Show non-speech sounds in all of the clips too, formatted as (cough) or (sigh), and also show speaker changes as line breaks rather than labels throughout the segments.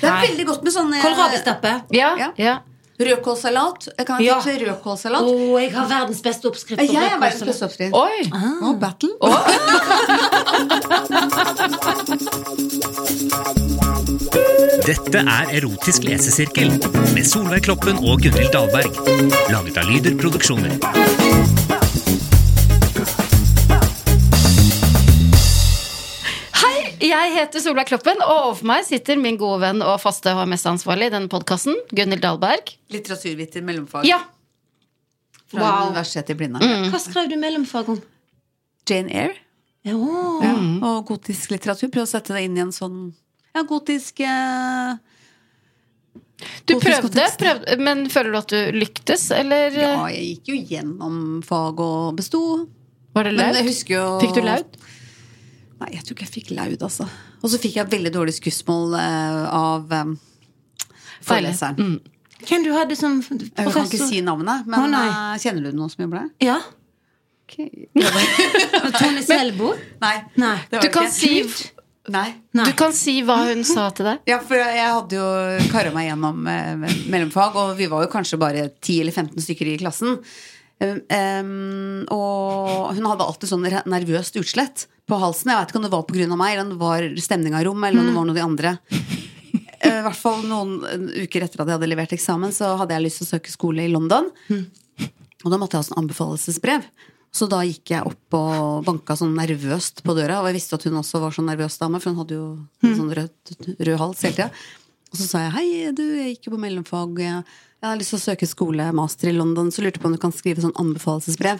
Det er veldig godt med sånn eh,
Kålrabistappe.
Ja,
Ja.
ja.
rødkålsalat. Jeg kan
Ja.
fikse
Å,
rødkålsalat.
jeg har verdens beste oppskrift. på Ah.
Jeg er
rødkål
verdens
salat.
beste oppskrift.
Oh. Oi! Ah.
Å, battle.
Dette er Erotisk lesesirkel med Solveig Kloppen og Gunhild Dahlberg. Laget av Lyder Produksjoner.
Hei, jeg heter Solveig Kloppen, og overfor meg sitter min gode venn og faste HMS-ansvarlig i denne podkasten, Gunhild Dahlberg.
Litteraturviter mellomfag
Ja, Mm.
fra
Wow.
Universitetet i Blindern.
Hva skrev du mellomfag om?
Jane Eyre.
Ja, å.
Ja.
Mm.
Og gotisk litteratur. Prøv å sette det inn i en sånn ja, gotisk eh,
Du
Hvorfor skal
prøvde,
teksten?
prøvde, men føler du at du lyktes, eller
Ja,
eh,
jeg gikk jo gjennom fag og besto.
var det
Men jeg
laut?
husker jo
Fikk du laud?
Nei, jeg tror ikke jeg fikk laud, altså. Og så fikk jeg et veldig dårlig skussmål eh, av eh, foreleseren.
Mm.
Hvem du hadde som
Jeg kan ikke
professor?
si navnet, men
Å, nei.
eh, kjenner du noen som jobber der?
Ja. (laughs) Tone Selbo?
Nei.
Nei.
det var
Du
det
kan
ikke.
si,
Nei.
du kan si hva hun sa til deg.
Ja, for jeg hadde jo kara meg gjennom eh, mellomfag, og vi var jo kanskje bare 10 eller 15 stykker i klassen. Um, um, og hun hadde alltid sånn re- nervøst utslett på halsen. Jeg vet ikke om det var pga. meg, eller om det var stemninga i rommet, eller om det var noe av de andre.
(laughs)
Eh, I hvert fall noen eh, uker etter at jeg hadde levert eksamen, så hadde jeg lyst til å søke skole i London. Og da måtte jeg ha sånn anbefalelsesbrev. Så da gikk jeg opp og banka sånn nervøst på døra. Og jeg visste at hun også var sånn nervøs dame, for hun hadde jo en sånn rød, rød hals hele tida. Og så sa jeg hei, du, jeg gikk jo på mellomfag. og Jeg, jeg har lyst til å søke skole, master i London, så lurte jeg på om du kan skrive sånn anbefalelsesbrev.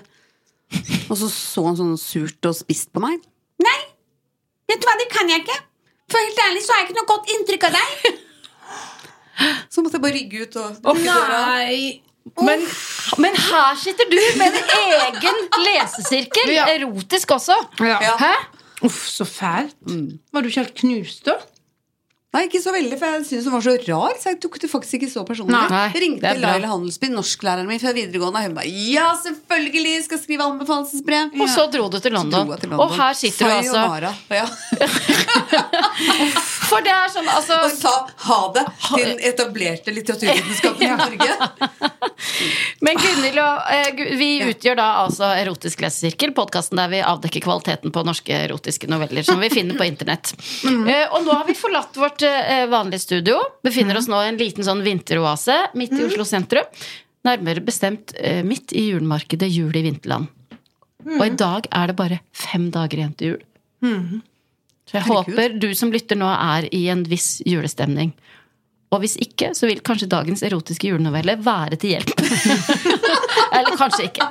Og så så hun sånn surt og spist på meg. Nei! Vet du hva, det kan jeg ikke! For helt ærlig så har jeg ikke noe godt inntrykk av deg. (laughs) Så måtte jeg bare rygge ut og lukke døra.
Nei.
Men, men her sitter du med en egen lesesirkel!
Ja.
Erotisk også.
Ja.
Hæ?
Uff, så fælt.
Mm.
Var du ikke helt knust, da?
Nei, ikke så veldig, for jeg syntes hun var så rar. Så jeg tok det faktisk ikke så personlig.
Nei,
jeg
det
ringte
er bra.
Laila Handelsby, norsklæreren min fra videregående, og hun bare 'ja, selvfølgelig skal jeg skrive anbefalelsesbrev'.
Og så dro du til
Så dro
London.
jeg til London.
Og her sitter du altså.
Sayonara. Ja. (laughs)
For det er sånn, altså
Og sa ha det til den etablerte
(laughs)
litteraturvitenskapen i Norge.
Men Gunhild og eh, Gu- vi utgjør da altså Erotisk lesesirkel, podkasten der vi avdekker kvaliteten på norske erotiske noveller som vi finner på internett. Eh, og nå har vi forlatt vårt eh, vanlige studio. Befinner oss nå i en liten sånn vinteroase midt i Oslo sentrum. Nærmere bestemt eh, midt i julemarkedet Jul i Vinterland. Og i dag er det bare fem dager igjen til jul. Så jeg
Herregud.
håper du som lytter nå er i en viss julestemning. Og hvis ikke, så vil kanskje dagens erotiske julenovelle være til hjelp. Eller kanskje ikke.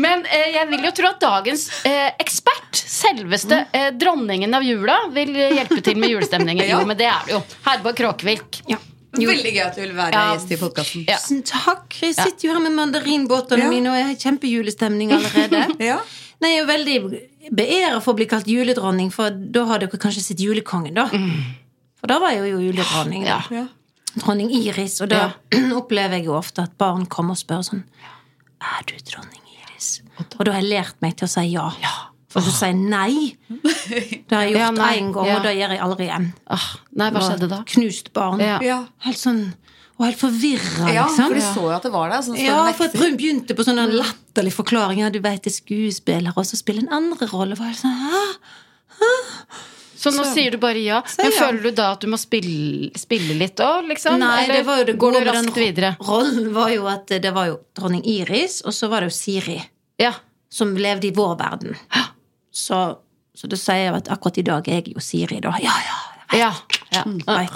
Men eh, jeg vil jo tro at dagens eh, ekspert, selveste eh, dronningen av jula, vil eh, hjelpe til med julestemningen. Jo, men det er det jo. Herborg Kråkevik.
Veldig gøy at du vil være
Ja.
gjest i podkasten.
Ja.
Tusen takk. Jeg sitter jo her med mandarinbåtene
Ja.
mine, og jeg har kjempejulestemning allerede.
(laughs) Ja.
Nei, jeg er veldig beæret for å bli kalt juledronning, for da har dere kanskje sett Julekongen, da. For da var jeg jo juledronning. da.
Ja.
Ja.
Dronning Iris. Og da (clears throat) opplever jeg jo ofte at barn kommer og spør sånn Er du dronning Iris? Og da har jeg lært meg til å si ja. For så sier jeg nei. Det har jeg
Ja,
gjort
nei.
én gang,
Ja.
og det gjør jeg aldri igjen.
Ah, nei, hva
Og
skjedde da?
Knust barn.
Ja.
Ja.
Helt sånn Og helt forvirra,
ja,
liksom.
for du så jo at det var der. Sånn står
Ja,
det
for
next-
hun begynte på sånne latterlige forklaringer. Du vet, det er skuespiller, og så spiller en andre rolle. Og jeg sånn, Hæ? Hæ?
Så nå
Så-
sier du bare ja.
Så
Men
ja.
føler du da at du må spille, spille litt òg, liksom?
Nei,
Eller
det var jo det
går
gode
du
med
raskt
den
videre?
Rollen var jo at det var jo dronning Iris, og så var det jo Siri,
Ja.
som levde i vår verden. Så, så du sier jo at akkurat i dag er jeg jo Siri, da. Ja, ja.
ja. ja.
Nei.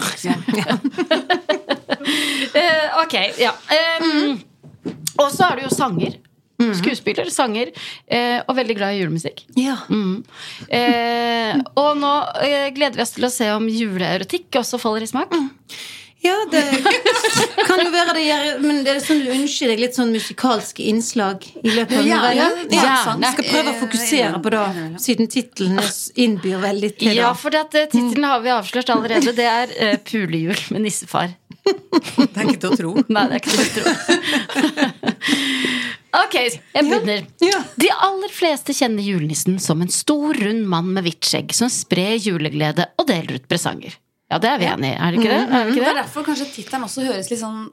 Eh, ok, ja. Eh, Og så er du jo sanger. Skuespiller, sanger, eh, og veldig glad i julemusikk.
ja.
Mm. Eh, og nå eh, gleder vi oss til å se om juleerotikk også faller i smak.
Mm,
ja, det kan jo være det gjør Men det er sånn du ønsker deg litt sånn musikalske innslag i løpet av
Ja,
novellen?
ja,
Ja,
sant.
Skal prøve å fokusere på det, siden tittelen innbyr veldig til det.
Ja, for eh,
Mm.
tittelen har vi avslørt allerede. Det er eh, 'Pulejul med nissefar'.
Det er ikke til å tro.
Nei, det er ikke til å tro. (laughs) Ok, jeg begynner.
Ja.
De aller fleste kjenner julenissen som en stor, rund mann med hvitt skjegg som sprer juleglede og deler ut presanger. Ja, det er vi enig i, er det ikke det? Er vi
Det
(laughs) ikke
er
det?
derfor kanskje tittelen også høres litt sånn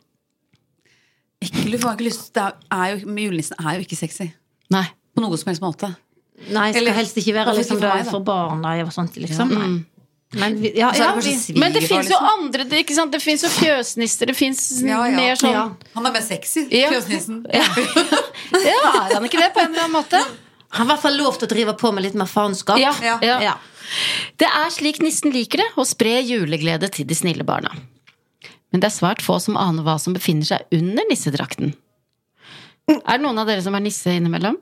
ekkel ut. for man har ikke lyst- Det er- er jo- men Julenissen er jo ikke sexy.
Nei.
På noen som helst måte.
Nei, skal
Eller-
helst ikke være
Hvorfor
liksom,
ikke for
det
meg, da?
for barna og sånt, liksom. Nei. Men vi, ja,
Og så er
ja,
det
vi,
kanskje
Men det
svigerfar,
fins jo
liksom.
andre, det- ikke sant? Det fins jo fjøsnisser, det fins
Mm. Ja, ja.
mer sånn
Ja. Han er mer sexy,
Ja.
fjøsnissen.
(laughs) Ja. ja, er han ikke det, på en eller annen måte?
han har i hvert fall lov til å drive på med litt mer faenskap.
Ja,
Ja.
ja.
Ja.
Det er slik nissen liker det, å spre juleglede til de snille barna. Men det er svært få som aner hva som befinner seg under nissedrakten. Er det noen av dere som er nisse innimellom?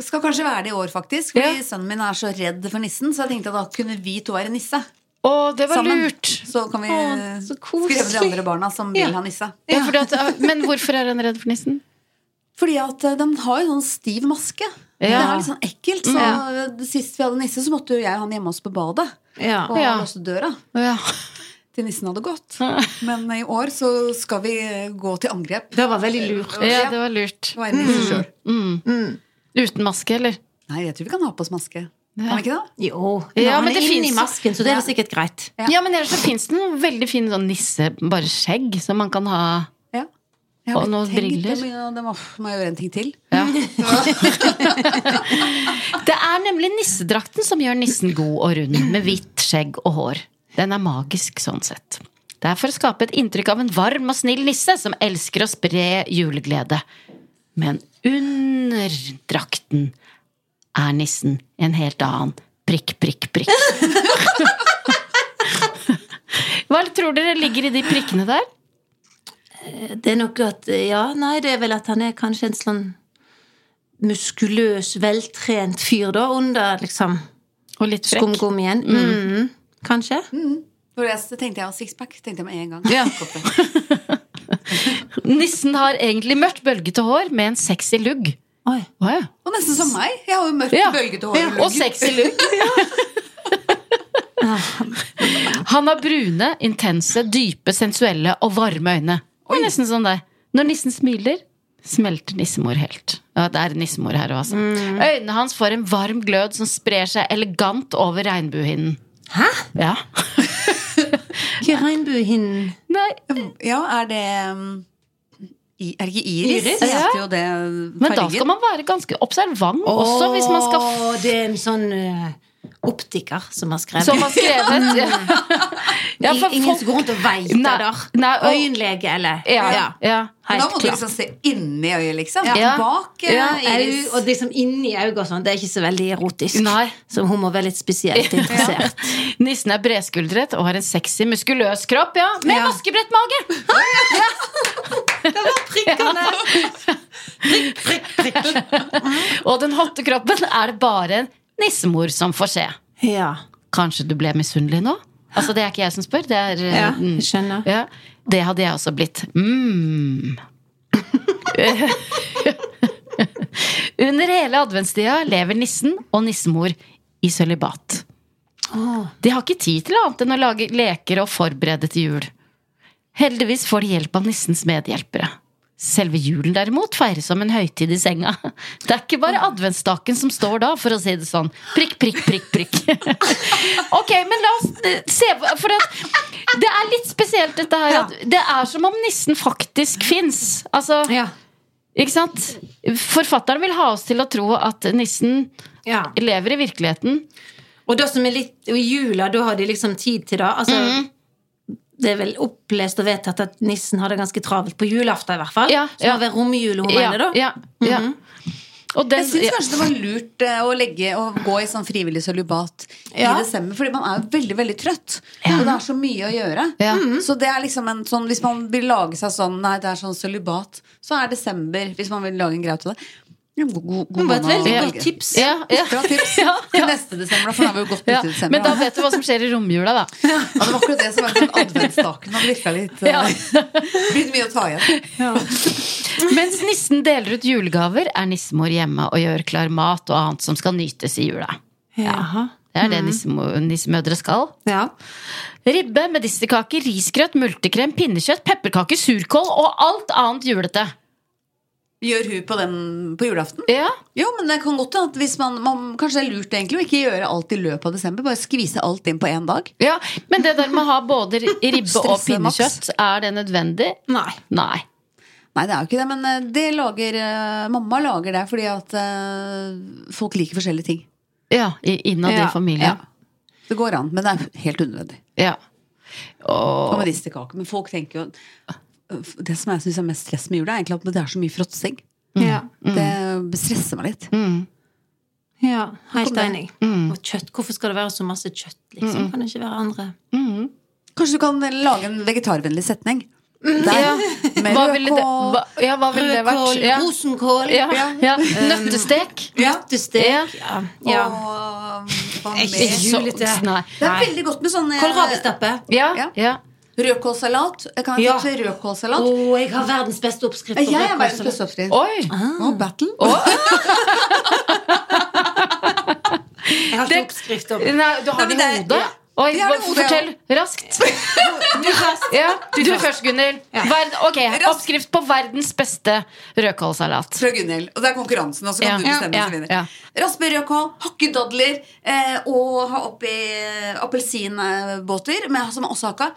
Skal kanskje være det i år, faktisk. Fordi sønnen min er så redd for nissen, så jeg tenkte at da kunne vi to være nisse.
Å, det var
Sammen.
lurt!
Så kan vi
Å, så koselig.
skrive de andre barna som vil ha nisse.
Ja, fordi at, men hvorfor er han redd for nissen?
Fordi at eh, den har jo sånn stiv maske. Det
Ja. Mm.
er litt sånn ekkelt. Så eh, Sist vi hadde nisse, så måtte jo jeg og han hjemme oss på badet.
Ja.
Og
Ja.
låse døra
Ja.
til nissen hadde gått. Men eh, i år så skal vi eh, gå til angrep.
Det var veldig lurt.
ja, det var lurt.
Og være
Mm.
nisse selv.
Uten maske, eller?
Nei, jeg tror vi kan ha på oss maske. Kan vi ikke det?
Jo. Nå,
Ja,
han
men
er
det
inne i
finnes-
masken, så det er vel sikkert greit.
Ja.
Ja, men ellers så fins det noen veldig fine sånn nisse, bare skjegg, som man kan ha.
Ja. Jeg har
Og noen
tenkt det,
briller.
men ja, Det må, må jeg gjøre en ting til.
Ja. Det er nemlig nissedrakten som gjør nissen god og rund, med hvitt skjegg og hår. Den er magisk sånn sett. Det er for å skape et inntrykk av en varm og snill nisse som elsker å spre juleglede. Men under drakten er nissen en helt annen prikk, prikk, prikk. (laughs) Hva tror dere ligger i de prikkene der?
Det er nok at Ja, nei, det er vel at han er kanskje en sånn muskuløs, veltrent fyr, da, under liksom
Og litt frekk?
skumgummien. Mm. Kanskje.
For jeg så tenkte jeg sixpack tenkte jeg med en gang.
Nissen har egentlig mørkt, bølgete hår med en sexy lugg.
Oi.
(laughs) Og nesten som meg. Jeg har jo mørkt,
Ja.
bølgete hår.
Og sexy lugg. Han har brune, intense, dype, sensuelle og varme øyne. Det er nesten sånn deg. Når nissen smiler, smelter nissemor helt. Ja, det er nissemor her òg, altså. Øynene hans får en varm glød som sprer seg elegant over regnbuehinnen.
Hæ?
Ja.
Hva er regnbuehinnen?
Nei,
Ja, er det um, i, Er det ikke iris?
Iris?
Jeg heter jo det
men da skal
fargen.
man være ganske observant også, hvis man skal
Å, det er en sånn eh, optiker som har skrevet
Som har skrevet. Ja, for
Ingen
folk
som går rundt og veiter
Nei,
der.
nei, og-
Øyenlege, eller
Ja. ja.
Men da
Helt
må du
klart.
liksom se inni øyet, liksom.
Ja.
Bak eh,
Ja,
iris.
au, og liksom inni øynene og sånn. Det er ikke så veldig erotisk.
Nei.
Så hun må være litt spesielt
(laughs)
interessert.
Nissen er bredskuldret og har en sexy, muskuløs kropp, ja. Med
Ja.
vaskebredt mage! (laughs) Og den hotte kroppen er det bare en nissemor som får se.
Ja.
Kanskje du ble misunnelig nå? Altså, det er ikke jeg som spør, det er
ja,
eh, mm,
jeg skjønner.
ja. Det hadde jeg også blitt. Mm. (laughs) Under hele adventstida lever nissen og nissemor i sølibat. De har ikke tid til annet enn å lage leker og forberede til jul. Heldigvis får de hjelp av nissens medhjelpere. Selve julen derimot feires som en høytid i senga. Det er ikke bare adventsstaken som står da, for å si det sånn. Prikk, prikk, prikk, prikk. (laughs) Ok, men la oss eh, se For at det er litt spesielt dette her. At det er som om nissen faktisk fins. Altså,
Ja.
ikke sant? Forfatteren vil ha oss til å tro at nissen
ja.
lever i virkeligheten.
Og det som er litt og I jula, da har de liksom tid til det. Altså,
Mm.
Det er vel opplest og vedtatt at nissen har det ganske travelt på julaften, i hvert fall.
Ja,
Så
ja.
har vi romjula, hun
Ja,
mener, da.
ja, ja. Og
Mhm.
den,
Jeg syns
ja.
kanskje det var lurt eh, å legge å gå i sånn frivillig sølibat
Ja.
i desember, fordi man er jo veldig veldig trøtt. Og det er så mye å gjøre.
Ja.
Så det er liksom en sånn Hvis man vil lage seg sånn Nei, det er sånn sølibat, så er desember, hvis man vil lage en greie til det, en god, god,
Det
god
var et
måned å
veldig
Ja.
godt
velge.
tips.
Ja, ja.
Bra tips
Ja,
(laughs) til
ja.
neste desember, da, for da er vi jo godt ute
Ja,
i desember.
men da
da.
vet du hva som skjer i romjula, da.
ja, det var akkurat det som var sånn adventsstaken. Han virka litt
Ja.
eh, (laughs) Blitt mye å ta igjen.
Mens nissen deler ut julegaver, er nissemor hjemme og gjør klar mat og annet som skal nytes i jula.
Jaha.
Det er det nissemo- nissemødre skal.
Ja.
Ribbe, medisterkaker, risgrøt, multekrem, pinnekjøtt, pepperkaker, surkål og alt annet julete.
Gjør hun på den på julaften?
Ja,
Jo, men det kan godt hende at hvis man, man Kanskje det er lurt egentlig å ikke gjøre alt i løpet av desember. Bare skvise alt inn på én dag.
ja. Men det der med å ha både ribbe og
Stresse, Max.
pinnekjøtt, er det nødvendig?
Nei.
Nei.
Nei, det er jo ikke det, men eh, det lager eh, Mamma lager det fordi at eh, folk liker forskjellige ting.
Ja, i- innad
Ja,
i familien.
Det går an, men det er helt unødvendig.
Ja.
Og
Og,
medisterkake. Men folk tenker jo Det som jeg syns er mest stress med jula, er egentlig at det er så mye fråtsing.
Ja.
Det stresser meg litt.
ja. Helt enig. Og kjøtt. Hvorfor skal det være så masse kjøtt, liksom? Kan det ikke være andre
Kanskje du kan lage en vegetarvennlig setning? Der,
Mm. ja.
Med
Hva ville det,
rødkål.
hva, ja, hva ville det vært?
Rødkål,
Ja.
rosenkål,
Ja, ja. Nøttestek.
nøttestek Ja. ja.
Og hva
Ikke
mer?
så-
julete.
Nei.
Det er veldig godt med sånn eh,
Kålrabistappe.
Ja,
Ja.
ja.
Rødkålsalat. Jeg kan
Ja.
fikse
Å,
rødkålsalat.
Oh.
jeg har verdens beste oppskrift. på Ah.
Jeg er verdens
rødkålsalat.
beste oppskrift.
Oi!
Å, battle.
Jeg har ikke oppskrift
(laughs)
opp.
Nei, du har
Nei, men
det i
det-
hodet?
ja.
Oi,
Jeg har det i hodet,
fortell raskt.
Du først.
Ja, du først, Gunnhild. Verd- Ok, Oppskrift på verdens beste rødkålsalat.
Fra Gunhild. Og det er konkurransen, og så kan
Ja.
du bestemme
Ja.
som vinner.
Ja.
Raspe rødkål, hakke dadler eh, og ha oppi eh, appelsinbåter med, som er også hakka.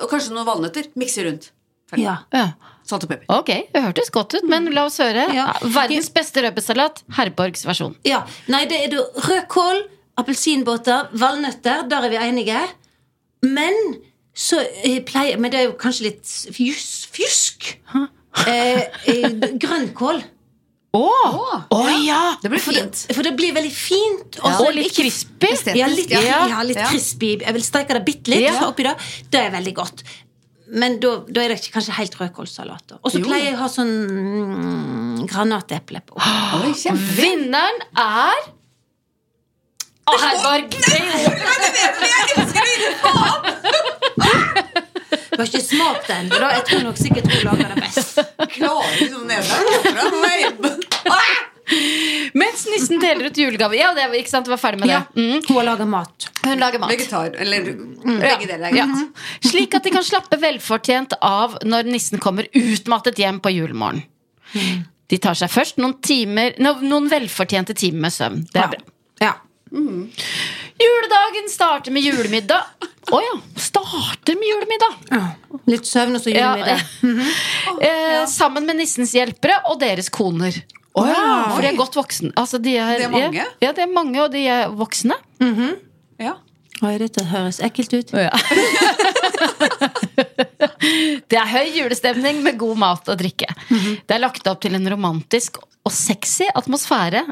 Og kanskje noen valnøtter. Mikse rundt. Ferdig.
Ja.
Ja.
Salt og pepper.
Ok, det hørtes godt ut, men la oss høre.
Ja.
Verdens beste rødbetsalat, Herborgs versjon.
ja. Nei, det er da rødkål, appelsinbåter, valnøtter. Der er vi enige. Men så eh, pleier Men det er jo kanskje litt fjus, fjusk. Eh, eh, grønnkål.
Å! ja!
Det blir
For
fint.
det, for det blir veldig fint.
Og
så
litt
ikke-
crispy.
Estetisk.
Ja, litt,
Ja.
ja, litt
Ja.
crispy. Jeg vil steike det bitte litt
Ja.
oppi det. Det er veldig godt. Men da, da er det ikke- kanskje helt rødkålsalat. da. Og så pleier jeg å ha sånn mm, granateple på.
Oi, kjempe.
Vinneren er Å, Herborg!
Jeg har ikke smakt det ennå. da. Jeg tror nok sikkert hun lager det best.
Klarer liksom nederlag.
Mens nissen deler ut julegave. Ja, det, ikke sant, var ferdig med det.
Ja, Hun har laga mat.
Hun lager mat.
Vegetar. Eller begge deler. er
Ja.
greit.
Slik at de kan slappe velfortjent av når nissen kommer utmattet hjem på julemorgen. De tar seg først noen, timer, no, noen velfortjente timer med søvn. Det er bra.
Ja.
Juledagen starter med julemiddag. Å ja. Starter med julemiddag.
Ja. Litt søvn, og så
Ja,
julemiddag.
eh, sammen med nissens hjelpere og deres koner.
ja.
For de er godt voksne. Altså, de er,
Det er mange.
Ja, det er mange, og de er voksne.
Ja.
Oi, dette høres ekkelt ut.
Det er høy julestemning med god mat og drikke.
Mhm.
Det er lagt opp til en romantisk og sexy atmosfære.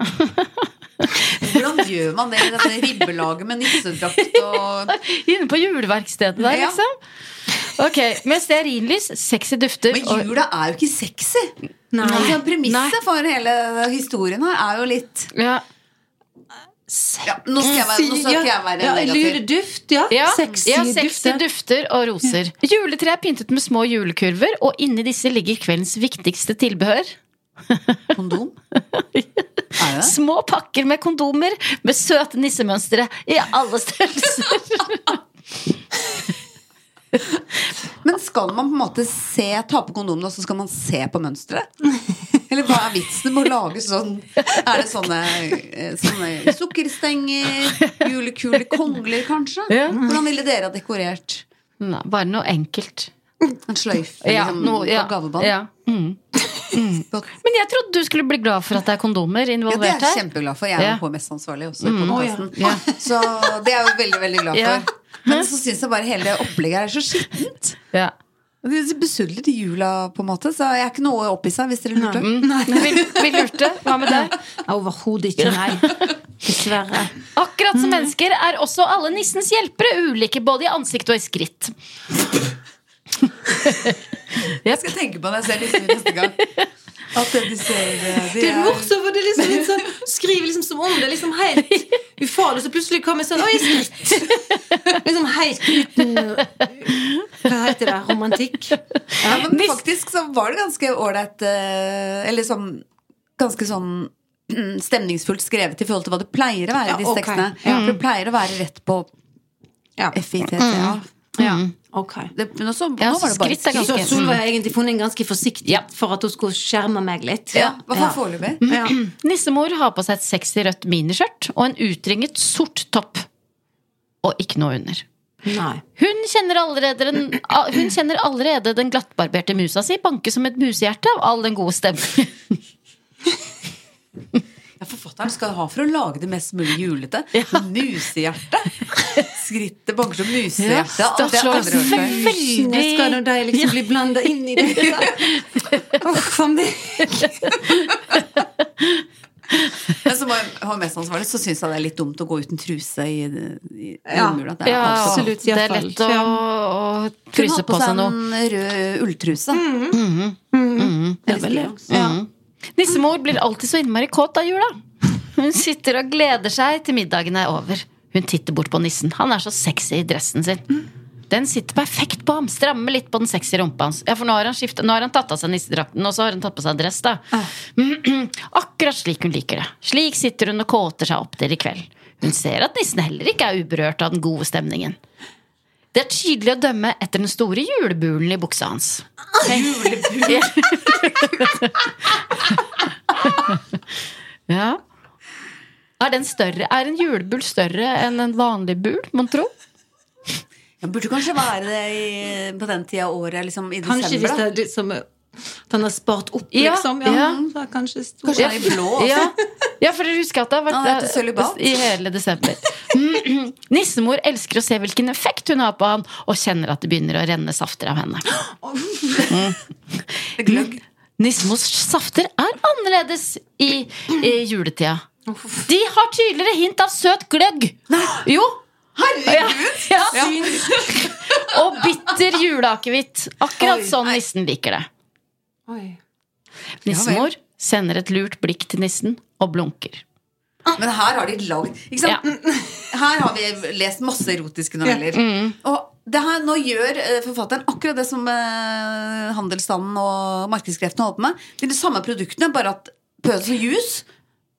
Hvordan gjør man det i dette ribbelaget med nissedrakt og
Inne på juleverkstedet der,
Ja.
liksom. Ok, Med stearinlys, sexy dufter
Men
og
jula er jo ikke sexy.
Nei.
Altså,
Nei.
Premisset for hele historien her er jo litt
ja.
ja, Nå skal jeg være, nå skal ikke jeg være
ja,
negativ.
Lureduft, ja.
Ja.
Sexy
ja, sexy
dufter.
dufter og roser. Juletre er pyntet med små julekurver, og inni disse ligger kveldens viktigste tilbehør.
(laughs) Kondom? Er
(laughs)
det?
Små pakker med kondomer med søte nissemønstre i alle størrelser.
Men skal man på en måte se, ta på kondomet, og så skal man se på
(laughs)
mønsteret? Eller hva er vitsen med å lage sånn? Er det sånne, eh, sånne sukkerstenger? Julekule kongler, kanskje?
Ja.
Hvordan ville dere ha dekorert
Nei, bare noe enkelt.
en sløyfe
Ja,
liksom,
noe- ja,
på gavebånd?
Ja. Mm. Men jeg trodde du skulle bli glad for at det er kondomer
Ja, det
involvert
er jeg Mm.
her.
kjempeglad for. Jeg er
Ja.
jo på mest ansvarlig også i podcasten. Så det er jeg jo veldig, veldig glad
Ja.
for. Men så syns jeg bare hele det opplegget her er så skittent.
Ja.
De besudler jula, på en måte. Så jeg er ikke noe oppissa, hvis dere lurte. Mm.
Men Vi, vi lurte. Hva med deg?
Overhodet ikke, nei. Dessverre.
Akkurat som mennesker er også alle nissens hjelpere ulike både i ansikt og i skritt.
Jeg skal tenke på det selv liksom, neste gang. (laughs) At de ser eh, de
(laughs) Det er
er-
morsomt, for det er liksom litt sånn Skriver liksom som om det er liksom helt ufarlig, så plutselig kommer sånn Oi, skritt! (laughs) Liksom helt uten Hva heter det? Romantikk?
Ja, men faktisk så var det ganske ålreit eh, Eller sånn ganske sånn (clears throat) mm, stemningsfullt skrevet i forhold til hva det pleier å være i
Ja,
disse
ok.
tekstene. For det pleier å være rett på
Ja.
FITT. Ja. Mm.
ja. Ok.
Det, men også,
Ja,
nå var det bare
skritt er ganske-
Så Solveig har egentlig funnet en ganske forsiktig for at hun skulle skjerme meg litt.
Ja, i hvert fall foreløpig.
Ja.
Nissemor har på seg et sexy rødt miniskjørt og en utringet sort topp. Og ikke noe under.
Nei.
Hun kjenner allerede den, a- hun kjenner allerede den glattbarberte musa si banke som et musehjerte av all den gode stemmen.
Ja, forfatteren skal ha for å lage det mest mulig julete. (laughs) Musehjerte. Skrittet banker som musehjerte.
Ja,
Alt det
stakkars.
andre ordet før.
Veldig Skal nå de liksom bli blanda inn i dette? Uff a meg.
Men som HMS-ansvarlig så syns jeg det er litt dumt å gå uten truse i, i
Ja.
romjula. Det er
(laughs) Ja,
absolutt.
absolutt, i
Det
hvert
er
fall.
lett å, å
Hun
fryse
har
på seg noe.
en rød ulltruse.
Ja, vel, ja. Ja.
Nissemor blir alltid så innmari kåt av jula. Hun sitter og gleder seg til middagen er over. Hun titter bort på nissen. Han er så sexy i dressen sin. Den sitter perfekt på ham. Strammer litt på den sexy rumpa hans. Ja, for nå har han, skiftet, nå har han tatt av seg nissedrakten, og så har hun tatt på seg dress, da. (clears throat) Akkurat slik hun liker det. Slik sitter hun og kåter seg opp til i kveld. Hun ser at nissen heller ikke er uberørt av den gode stemningen. Det er tydelig å dømme etter den store julebulen i buksa hans.
Mm,
Ja. Er, den større, er en julebul større enn en vanlig bul, mon tro?
(laughs) Ja, burde kanskje være det i, på den tida av året, liksom i
Kanskje hvis
desember.
det
da.
er liksom at han har spart opp,
Ja,
liksom. Ja,
ja.
Så er kanskje stor.
Kanskje det er i blå. også.
Ja. ja, for dere husker at det har
Han
vært
heter Sølibat.
i hele desember. Mm, mm. Nissemor elsker å se hvilken effekt hun har på han, og kjenner at det begynner å renne safter av henne.
Det er gløgg.
Nissemors safter er annerledes i, i juletida. De har tydeligere hint av søt gløgg. Jo. Herregud! Ja. Ja. Og bitter juleakevitt. Akkurat sånn nissen liker det.
Oi.
Nissemor sender et lurt blikk til nissen og blunker.
Men her har de lagd ikke sant? Mm, Her har vi lest masse erotiske noveller.
Mm.
Og det her, nå gjør eh, forfatteren akkurat det som eh, handelsstanden og markedskreftene holder på med. Det er de samme produktene, bare at pøs og jus.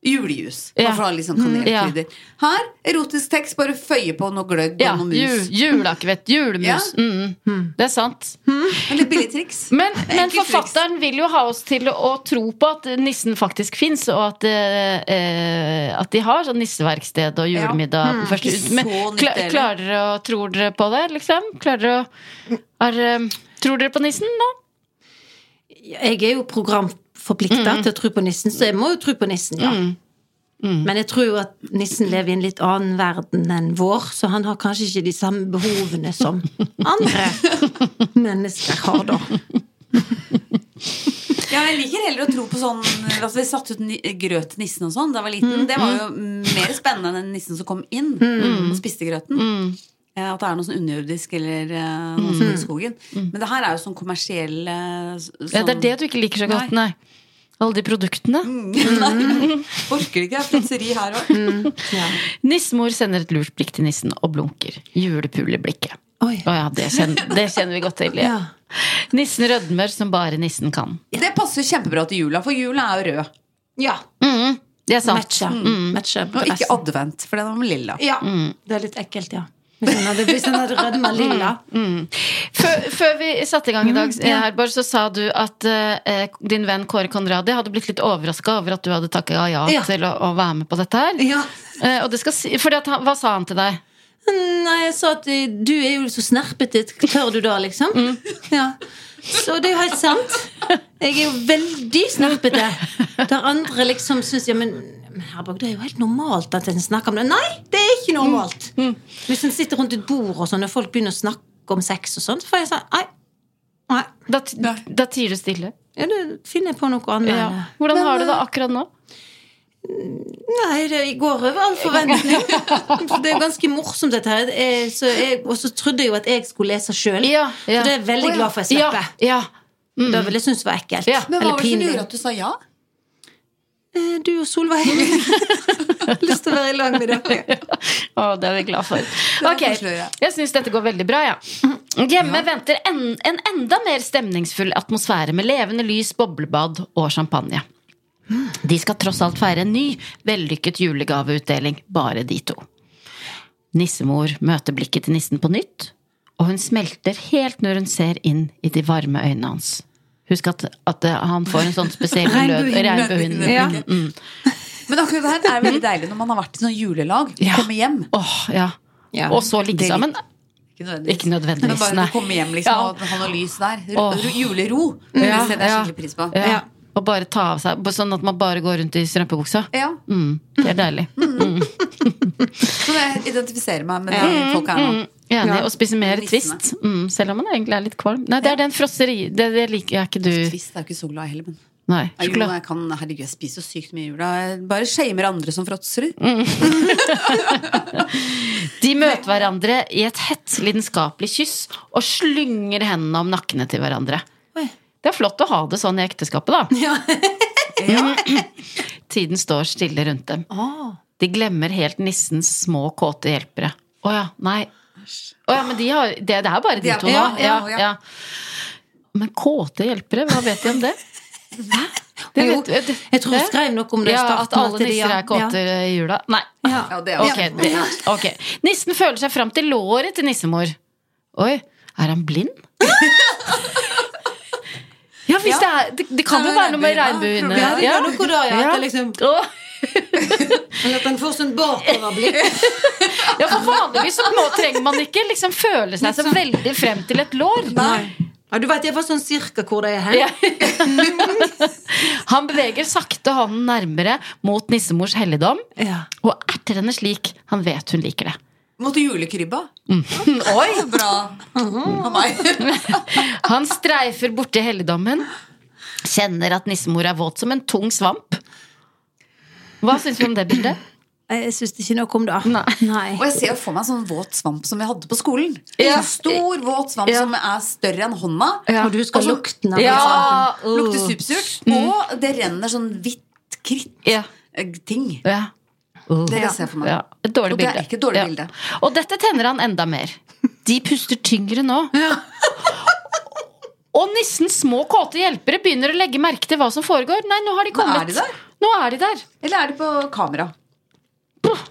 Julejus.
Ja. Mm,
Bare for å ha litt sånn kanelkrydder. Her erotisk tekst, bare føye på noe gløgg
Ja,
og noe
ju,
mus.
Juleakevett, julemus. Mm, Det er sant.
Men Litt billig triks.
(laughs) Men,
(laughs)
men
Enkelt triks.
forfatteren vil jo ha oss til å tro på at nissen faktisk fins, og at, eh, eh, at de har sånn nisseverksted og julemiddag. den første-
Hmm. Ikke Mm. så
men
nytt
kla,
heller.
klarer dere å Tror dere på det, liksom? Klarer dere å er, eh, Tror dere på nissen nå?
Jeg er jo programforplikta til å tro på nissen, så jeg må jo tro på nissen, ja. Men jeg tror jo at nissen lever i en litt annen verden enn vår, så han har kanskje ikke de samme behovene (laughs) som andre mennesker har, da.
Ja, jeg liker heller å tro på sånn altså Vi satte ut ni- grøt til nissen og sånn da jeg var liten.
Mm.
Det var jo mer spennende enn nissen som kom inn
Mm.
og spiste grøten. Eh, At det er noe sånn underjordisk eller eh, noe sånt i skogen. Men det her er jo sånn kommersiell eh, s- sånn,
Mm. Ja, det er det du ikke liker så godt, nei. Alle de produktene.
(laughs) Mm. Nei,
Mm.
Orker ikke jeg plutselig her òg?
Nissemor sender et lurt blikk til nissen og blunker. Julepul i blikket.
Oi.
Å ja, det kjenner,
(laughs)
det kjenner vi godt til. Ja. Nissen rødmer som bare nissen kan.
Det passer jo kjempebra til jula, for jula er jo rød.
Ja. Mm.
Mm, det er sant.
Matcha. Matcha
Og ikke
dressen.
advent, for den var med lilla.
Ja. Det er litt ekkelt, ja. Hvis han hadde, hvis han hadde rødma lilla.
Før, før vi satte i gang i dag,
Mm,
eh, Herborg, så sa du at eh, din venn Kåre Konradi hadde blitt litt overraska over at du hadde takka ja,
Ja.
til å, å være med på dette her.
Ja.
Eh, og det skal si, fordi at han, hva sa han til deg?
Nei, jeg sa at eh, du er jo så snerpete. Tør du da, liksom?
Mm.
Ja. Så det er jo helt sant. Jeg er jo veldig snerpete. Der andre liksom syns ja, men, men herborg, det er jo helt normalt at en snakker om det. Nei, det er ikke normalt!
Mm.
Hvis en sitter rundt et bord og sånn, og folk begynner å snakke om sex og sånn, så får jeg sånn Nei. nei.
Da, t- da tier du stille.
Ja, da finner jeg på noe annet.
Ja. Hvordan har du det
eh,
akkurat nå?
Nei, det går over all forventning. Det er ganske morsomt, dette her. Jeg- så jeg- Og så trodde jeg jo at jeg skulle lese sjøl.
Ja,
Så
ja.
det er jeg veldig glad for jeg
Ja,
slipper.
ja.
Det ville jeg synes var ekkelt.
Mm. Ja.
Men hva
Eller
var det som
pinlig.
gjorde at du sa ja?
Eh, Du
(laughs)
og Solveig. (laughs) Lyst til å være i lag med dere.
Å, det er vi glad for.
var
Ok,
koselig å gjøre.
Jeg syns dette går veldig bra, jeg. Ja. Hjemme venter en, en enda mer stemningsfull atmosfære med levende lys, boblebad og champagne. De skal tross alt feire en ny vellykket julegaveutdeling, bare de to. Nissemor møter blikket til nissen på nytt, og hun smelter helt når hun ser inn i de varme øynene hans. Husk at, at han får en sånn spesiell lød-
Regnbuehimmel.
regnbuehimmel.
Ja.
Mm, mm.
Men akkurat det her er veldig deilig når man har vært i sånn julelag.
Ja.
Komme hjem.
Åh, ja.
Ja.
Og så ligge
Det er litt-
sammen.
Ikke nødvendigvis.
Ikke
Men
nødvendigvis,
bare
nei.
å komme hjem liksom,
Ja.
og ha noe lys der.
Åh. Mm.
Ro- Julero. Det
Ja,
setter jeg
ja.
skikkelig pris på.
Ja. Og bare ta av seg, sånn at man bare går rundt i strømpebuksa.
Ja.
Mm, det er deilig.
Så jeg identifiserer meg med de folk her nå.
Enig.
Ja.
Og spise mer
Nissene.
twist. Mm, selv om man egentlig er litt kvalm. Nei, det er den frosseri... Det, det liker jeg ikke du.
Twist er jo ikke så glad i heller, men
Nei.
Nei, jo,
Sjokolade.
jeg kan, herregud, jeg spiser jo sykt mye i jula. Jeg bare shamer andre som fråtser.
Mm.
De møter hverandre i et hett, lidenskapelig kyss og slynger hendene om nakkene til hverandre.
Oi.
Det er flott å ha det sånn i ekteskapet, da.
(laughs)
Mm.
Ja.
Tiden står stille rundt dem.
Ah.
De glemmer helt nissens små, kåte hjelpere. Å ja, nei. Å ja, men de har, det, det er bare de,
er-
to nå.
ja,
Ja,
ja,
ja,
ja.
Men kåte hjelpere, hva vet de om det?
(laughs)
Det
Jo,
vet- det-
Jeg tror jeg
det-
skrev noe om det i
ja,
starten.
At alle
det-
nisser
ja.
er kåte i jula? Nei.
Ja.
Ja,
Ja.
det er jo
Ok, det, ok. Nissen føler seg fram til låret til nissemor. Oi, er han
(laughs)
blind? Ja, hvis det er Det, det kan
Ja,
jo
men
være noe med
regnbuen,
regnbuene.
da.
det gjør noe da, ja.
Ja.
At, det liksom,
Åh,
eller at den får sånn bakoverblikk.
ja, for vanligvis så må, trenger man ikke liksom føle seg så veldig frem til et lår.
Ja, du vet jeg var sånn cirka hvor det er hen.
Ja. Han beveger sakte hånden nærmere mot nissemors helligdom
Ja.
og erter henne slik han vet hun liker det.
Mot julekrybba.
Mm.
(laughs) Oi! Bra
(laughs)
av meg.
Han streifer borti helligdommen, kjenner at nissemor er våt som en tung svamp. Hva syns vi om det bildet?
Jeg syns ikke noe om det. Nei.
Og jeg ser jo for meg en sånn våt svamp som vi hadde på skolen.
Ja.
En stor, våt svamp
Ja.
som er større enn hånda.
Og du husker
Og så-
lukten av
Ja.
det. sant?
Lukter
Mm.
supersurt. Og det renner sånn hvitt
Ja.
kritt-ting.
ja.
Det jeg ser for meg.
ja. Et dårlig
Og det er
bilde.
ikke et dårlig
Ja.
bilde.
Og dette tenner han enda mer. De puster tyngre nå.
(laughs)
Og nissens små, kåte hjelpere begynner å legge merke til hva som foregår. Nei, nå har de
Men
kommet.
er de der?
Nå er de der.
Eller er de på kamera?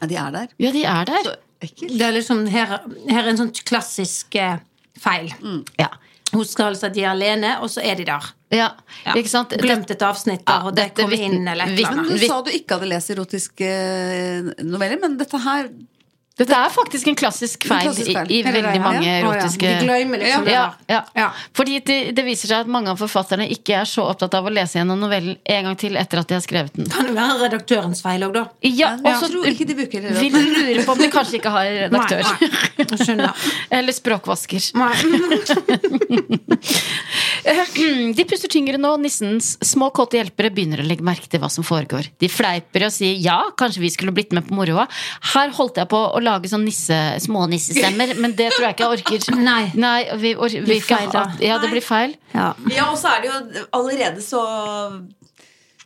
Ja, de er der.
Ja, de er der.
Ekkelt.
Det er liksom, her, her er en sånn klassisk eh, feil.
Ja.
Hun skal altså de er alene, og så er de der.
ja.
Ja.
Ikke sant?
Glemt et avsnitt der,
Ja,
og det
dette
kom
vitn-
inn eller et
vitn-
eller
Men
annet.
Du
Vi-
sa du ikke hadde lest erotiske eh, noveller, men dette her
Dette er faktisk en klassisk feil,
klassisk feil.
i, i
Hele
veldig
greia,
mange
ja.
erotiske
De glemmer liksom
ja,
det der.
ja.
Ja.
Fordi det, det viser seg at mange av forfatterne ikke er så opptatt av å lese gjennom novellen en gang til etter at de har skrevet den.
Kan det være redaktørens feil òg, da?
Ja,
Men
og
jeg
så
tror ikke de bruker det.
vil du lure på om de kanskje ikke har redaktør.
Nei, nei. Jeg skjønner.
(laughs) Eller språkvasker. (clears throat)
Nei.
De puster tyngre nå, nissens små kåte hjelpere begynner å legge merke til hva som foregår. De fleiper og sier ja, kanskje vi skulle blitt med på moroa. Her holdt jeg på å lage sånn nisse, små nissestemmer, men det tror jeg ikke jeg orker.
Nei.
vi, or, vi
Blir
ikke-
feil, da.
Ja, det blir feil.
Ja.
Ja, og så er det jo allerede så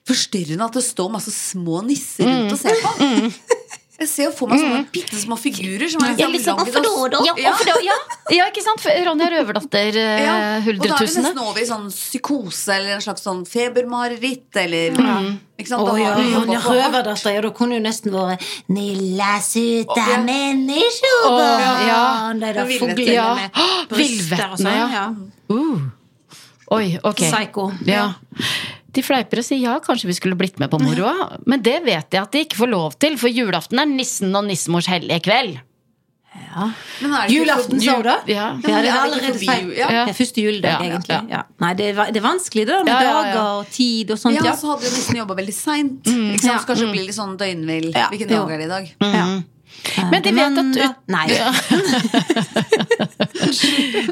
forstyrrende at det står masse små nisser rundt og ser på. (laughs) Jeg ser jo for meg sånne bitte små figurer som er
Ja, liksom,
laget av-
Ja, hvorfor da? Ja. ja, ikke sant? For Ronja Røverdatter,
Ja,
eh,
Og da er vi
Huldretusene.
nesten over i sånn psykose eller en slags sånn febermareritt eller Ikke sant?
Å
Da
ja,
har vi jo
Ronja
gått på-
Røverdatter. Ja, da kunne jo nesten vært Nilla sutta
Å, ja.
menneskebarn. De der
Villvetter.
fuglene
Ja.
med
Å,
bryster og
villvettene,
sånn. Ja.
ja. Oi, ok.
Psycho.
Ja. De fleiper og sier ja, kanskje vi skulle blitt med på moroa. Men det vet jeg at de ikke får lov til, for julaften er nissen og nissemors hellige kveld.
Ja.
Men er det ikke
Julaften, sa hun da? Ja,
Ja.
Ja,
det
det
er
er
allerede
allerede
forbi,
feil.
ja.
Det er Første juledag,
Ja, ja,
egentlig.
ja.
Ja. Nei, det er, det er vanskelig, det der med
Ja, ja, ja. altså.
dager og tid og sånt.
Ja,
Ja.
så hadde vi nesten jobba veldig seint.
Mm,
ikke sant? Så kanskje det blir litt sånn døgnvill.
Ja.
Hvilken
Jo.
dag er det i dag?
Men de vet at
Mandag-
ut,
Eh, Nei.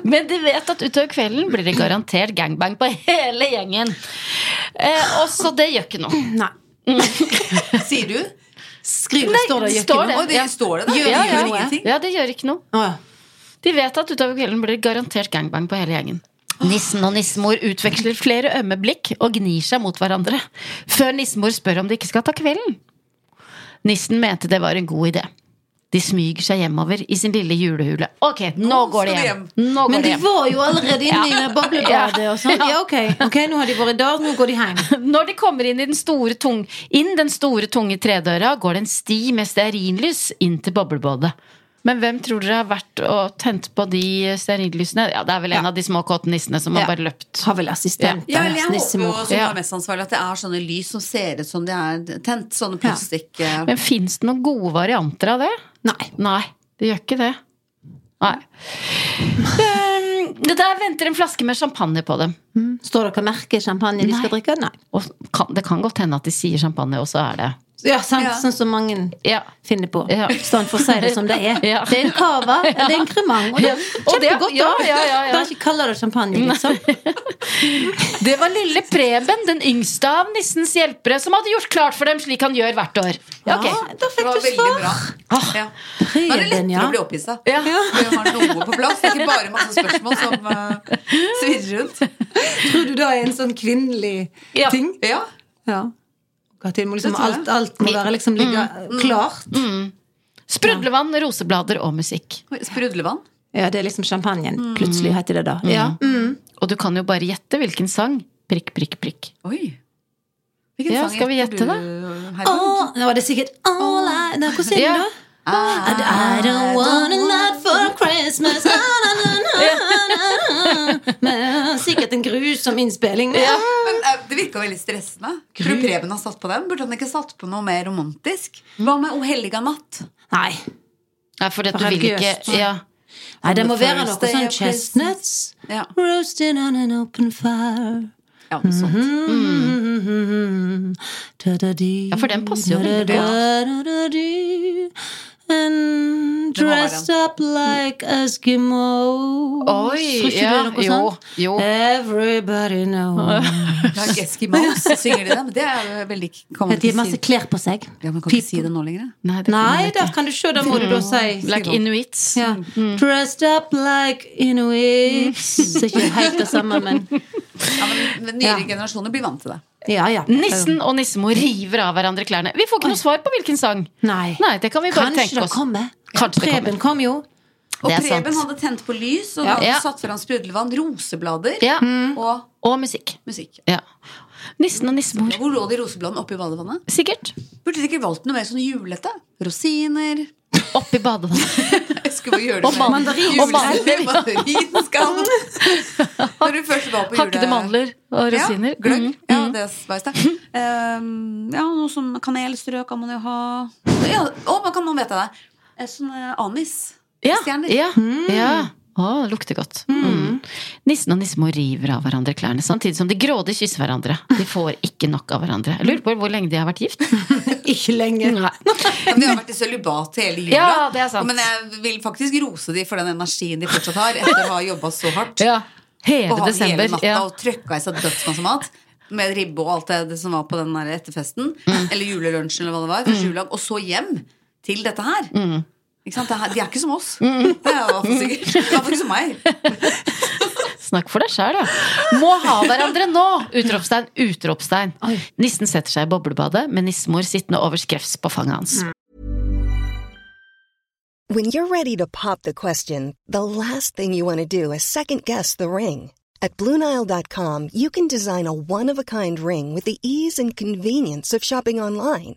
Men de vet at utover kvelden blir det garantert gangbang på hele gjengen. Eh, og så det gjør ikke noe.
(laughs) Nei.
Sier du?
Skriv,
Nei,
står det og gjør
står
ikke noe.
Å, det står det, da.
Gjør-
det
gjør
gjør
noe.
ingenting.
Ja, det gjør ikke noe.
Å, ja.
De vet at utover kvelden blir det garantert gangbang på hele gjengen. Nissen og nissemor utveksler flere ømme blikk og gnir seg mot hverandre. Før nissemor spør om de ikke skal ta kvelden. Nissen mente det var en god idé. De smyger seg hjemover i sin lille julehule. Ok, nå,
Nå
går de
skal de
hjem. Nå går
Men
de
de
hjem.
var jo allerede inne i den boblebadet og sånn. Ja, ok. Ok, nå har de vært der, nå går de hjem.
Når de kommer inn, i den store tung, inn den store, tunge tredøra, går det en sti med stearinlys inn til boblebadet. Men hvem tror dere har vært og tent på de stearinlysene? Ja, Det er vel en av de små kåte nissene som har
Ja.
bare løpt.
(laughs) Har vel assistent
Ja, eller
deres
jeg håper jo
nissemor.
som
Ja.
er mest ansvarlig at det er sånne lys som ser ut som de er tent. Sånne plastikk eh,
Men fins det noen gode varianter av det?
Nei.
Nei, det gjør ikke det. Nei. Ehm, det der venter en flaske med champagne på dem.
Står dere merke champagne de skal drikke? Nei.
Og kan, det kan godt hende at de sier champagne, og så er det
Ja, sant,
Ja.
sånn som mange
Ja.
finner på.
Ja.
Istedenfor å si det som det er.
(laughs) Ja.
Det er en cava, det er en kremang. Og det er
Og det-
kjempegodt,
ja, ja, ja, ja.
Bare ikke kaller det champagne,
(laughs)
liksom.
Det var lille Preben, den yngste av nissens hjelpere, som hadde gjort klart for dem slik han gjør hvert år. Ja, ok.
Ja, da
Det
fikk
var
du
veldig
svar.
bra. Ja.
Ah,
Da er det
Preben,
lettere
ja.
å bli opphissa. Ja. Vi har noe på plass, ikke bare masse spørsmål som eh, svirrer rundt.
Tror du det er en sånn kvinnelig
Ja.
ting?
Ja.
Ja. At det må liksom,
Det tror jeg.
alt, alt må være liksom ligge klart.
Sprudlevann, roseblader og musikk.
Oi, Sprudlevann.
Ja, det er liksom champagnen. Plutselig heter det da. Mm. Ja.
Mm. Og du kan jo bare gjette hvilken sang. Prikk, prikk, prikk.
Oi. Hvilken
Ja,
sang
skal vi
gjetter du,
gjette da?
Herman?
Å, nå var det sikkert all I Nei, hvordan er
Ja.
det da?
Ah,
And I don't want a lot for Christmas na, na, na, na, na, na. Men Sikkert en grusom innspilling.
Men eh, Det virka veldig stressende. Tror du Preben har satt på den? Burde han ikke satt på noe mer romantisk? Hva med O helliga natt?
Nei.
Nei, for at du vil
Religiøst.
ikke ja.
Nei, det må være noe
Thursday
sånn
of
chestnuts
Ja.
roasting on an open fire.
Ja, noe sånt.
Mhm. Mm.
Ja, for den passer jo veldig
And
Det må være
dressed up like Eskimos.
Oi,
Tror ikke
ja,
det er noe
jo,
sånt?
jo.
Everybody
(laughs)
knows.
Like Eskimos synger de det, men det er jo veldig kan man
De
ikke
har masse
si.
klær på seg.
Ja, man kan
Pip.
ikke si det nå lenger.
Nei, det kan
Nei,
jeg ikke.
da kan du se, da må du da si
Mm. Like Mm. inuits.
ja. Dressed up like inuits.
Mm.
Det er ikke helt det samme, men
Ja, men men Nyere generasjoner blir vant til det.
Ja, ja.
Nissen og nissemor river av hverandre klærne. Vi får ikke noe svar på hvilken sang.
Nei.
Nei, det kan vi bare
Kanskje
tenke
det
oss.
kommer.
Kanskje det
Preben kom jo.
Og
Det er
Preben
sant.
hadde tent på lys, og
Ja.
hadde
Ja.
satt foran sprudlevann, roseblader
Ja,
og
Og musikk.
musikk.
Ja. Nissen og nissemor.
Hvor lå de rosebladene oppi badevannet?
Sikkert.
Burde de ikke valgt noe mer sånn julete? Rosiner
Oppi badevannet.
Jeg skulle bare gjøre det
Og mandarin. Og
Juletre,
(laughs)
mandarinskall. Når du først var på jule...
Hakkede mandler og rosiner.
Ja, gløgg.
Mm.
Ja, det sveis
(laughs)
det. Ehm, ja, noe som kanelstrø kan man jo ha. Ja, å, hva kan man vite det? Eh, Sånn eh, anis.
Ja.
Stjerner.
ja. ja. Å, det lukter godt. Mm. Nissen og nissemor river av hverandre klærne samtidig som de grådig kysser hverandre. De får ikke nok av hverandre. Jeg lurer på hvor lenge de har vært gift.
Ikke lenge.
Men de har vært i sølibat hele jula.
Ja, det er sant.
Men jeg vil faktisk rose de for den energien de fortsatt har etter å ha jobba så hardt.
Ja. Hele
Og ha hele
desember.
natta
Ja.
og trøkka i seg dødsmasse mat. Med ribbe og alt det, det som var på den der etterfesten.
Mm.
Eller julelunsjen, eller hva det var. Første juledag. Og så hjem til dette her.
Mm.
Ikke sant? Det her, de er ikke som oss. Det er i hvert fall sikkert. I hvert fall ikke som meg.
Snakk for deg sjæl, da. Må ha hverandre nå! Utropstegn, utropstegn. Nissen setter seg i boblebadet med nissemor sittende over skrevs på fanget hans.
When you're ready to pop the question, the last thing you want to do is second guess the ring. At Bluenile.com, you can design a one of a kind ring with the ease and convenience of shopping online.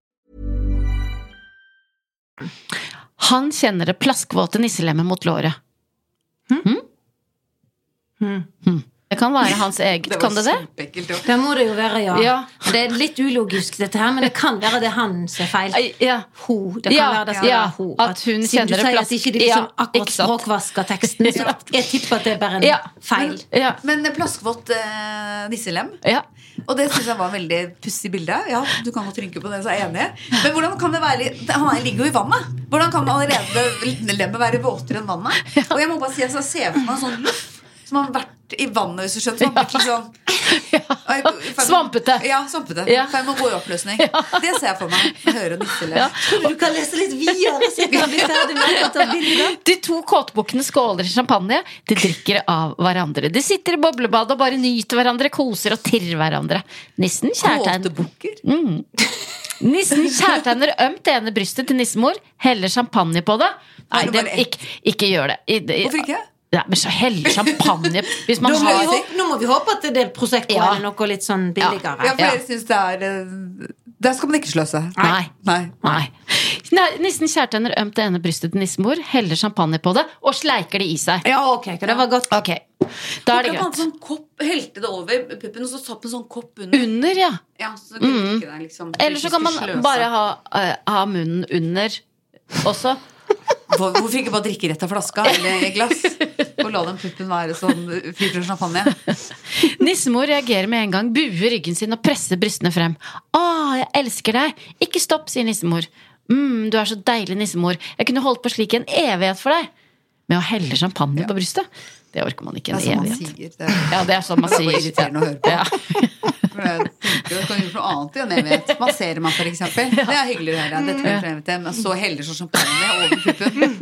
Han kjenner det plaskvåte nisselemmet mot låret. Hm? Hm. Det kan være
(laughs)
hans eget, kan det det?
kjempeekkelt. ja.
Det må det jo være, ja.
Ja.
Det er litt ulogisk, dette her, men det kan være det er han som er feil.
Ei, ja.
Ho. Det kan
Ja,
være det skal
ja,
være ho.
at hun
siden
kjenner
du
det
sier at
plass-
ikke de liksom
Ja,
akkurat
ikke sant.
språkvasker teksten,
(laughs)
så jeg tipper at det er bare en
Ja.
feil.
Ja.
Men eh, plaskvått eh, nisselem.
ja.
Og det syns jeg var veldig pussig bilde. Ja, du kan godt rynke på den, så er jeg enig. Men hvordan kan det være Han ligger jo i vannet. Hvordan kan allerede lemmet være våtere enn vannet? Og jeg må bare si, altså, jeg ser for meg en sånn loff som har vært i vannet, hvis du skjønner. Som har blitt liksom Og jeg- i ferd med-
Svampete.
Ja, svampete.
Ja.
For jeg må gå i oppløsning. Det ser jeg for meg. Høre nisselem.
Ja.
Du kan lese litt videre, så jeg kan bli ferdig med dette bildet.
De to kåtbukkene skåler i champagne. De drikker av hverandre. De sitter i boblebadet og bare nyter hverandre, koser og tirrer hverandre. Nissen kjærtegn.
Kåtebukker.
Mm. Nissen kjærtegner ømt det ene brystet til nissemor, heller champagne på det. Nei,
Bare
det,
bare ett.
ikke, ikke gjør det. I- i-
Hvorfor ikke?
Nei, men så helle champagne hvis
(laughs)
man
Nå må, vi
har
håpe, nå må vi håpe at det er Prosecco
Ja.
eller noe litt sånn billigere.
Ja, for
Ja.
jeg syns det er eh, Der skal man ikke sløse.
Nei.
Nei.
Nei. Nei. Nissen kjærtegner ømt det ene brystet til nissemor, heller champagne på det og sleiker det i seg.
Ja, ok, ok, det var godt.
Ok, Da er det
Det var en
greit.
sånn kopp, Helte det over puppen, og så satt en sånn kopp under.
Under, ja.
Ja, så kan du drikke deg liksom
Eller så kan
Ikke
man
sløse.
bare ha, eh, ha munnen under også.
Hvor- Hvorfor ikke bare drikke rett av flaska eller i glass? Og la den puppen være sånn fri fra champagne.
Nissemor reagerer med en gang, buer ryggen sin og presser brystene frem. Å, jeg elsker deg! Ikke stopp, sier nissemor. Mm, du er så deilig, nissemor. Jeg kunne holdt på slik i en evighet for deg. Med å helle champagne på brystet. Det orker man ikke
Det er sånn
en
man
evighet.
sier. Det er
Ja, det er sånn man
det er
sier.
bare irriterende å høre på.
(laughs) Ja.
For jeg tenker, jeg kan gjøre noe annet i en evighet. Massere meg, for eksempel. Det er hyggelig å høre. Dette kan jeg frem til. Men så heller sånn champagne over puppen.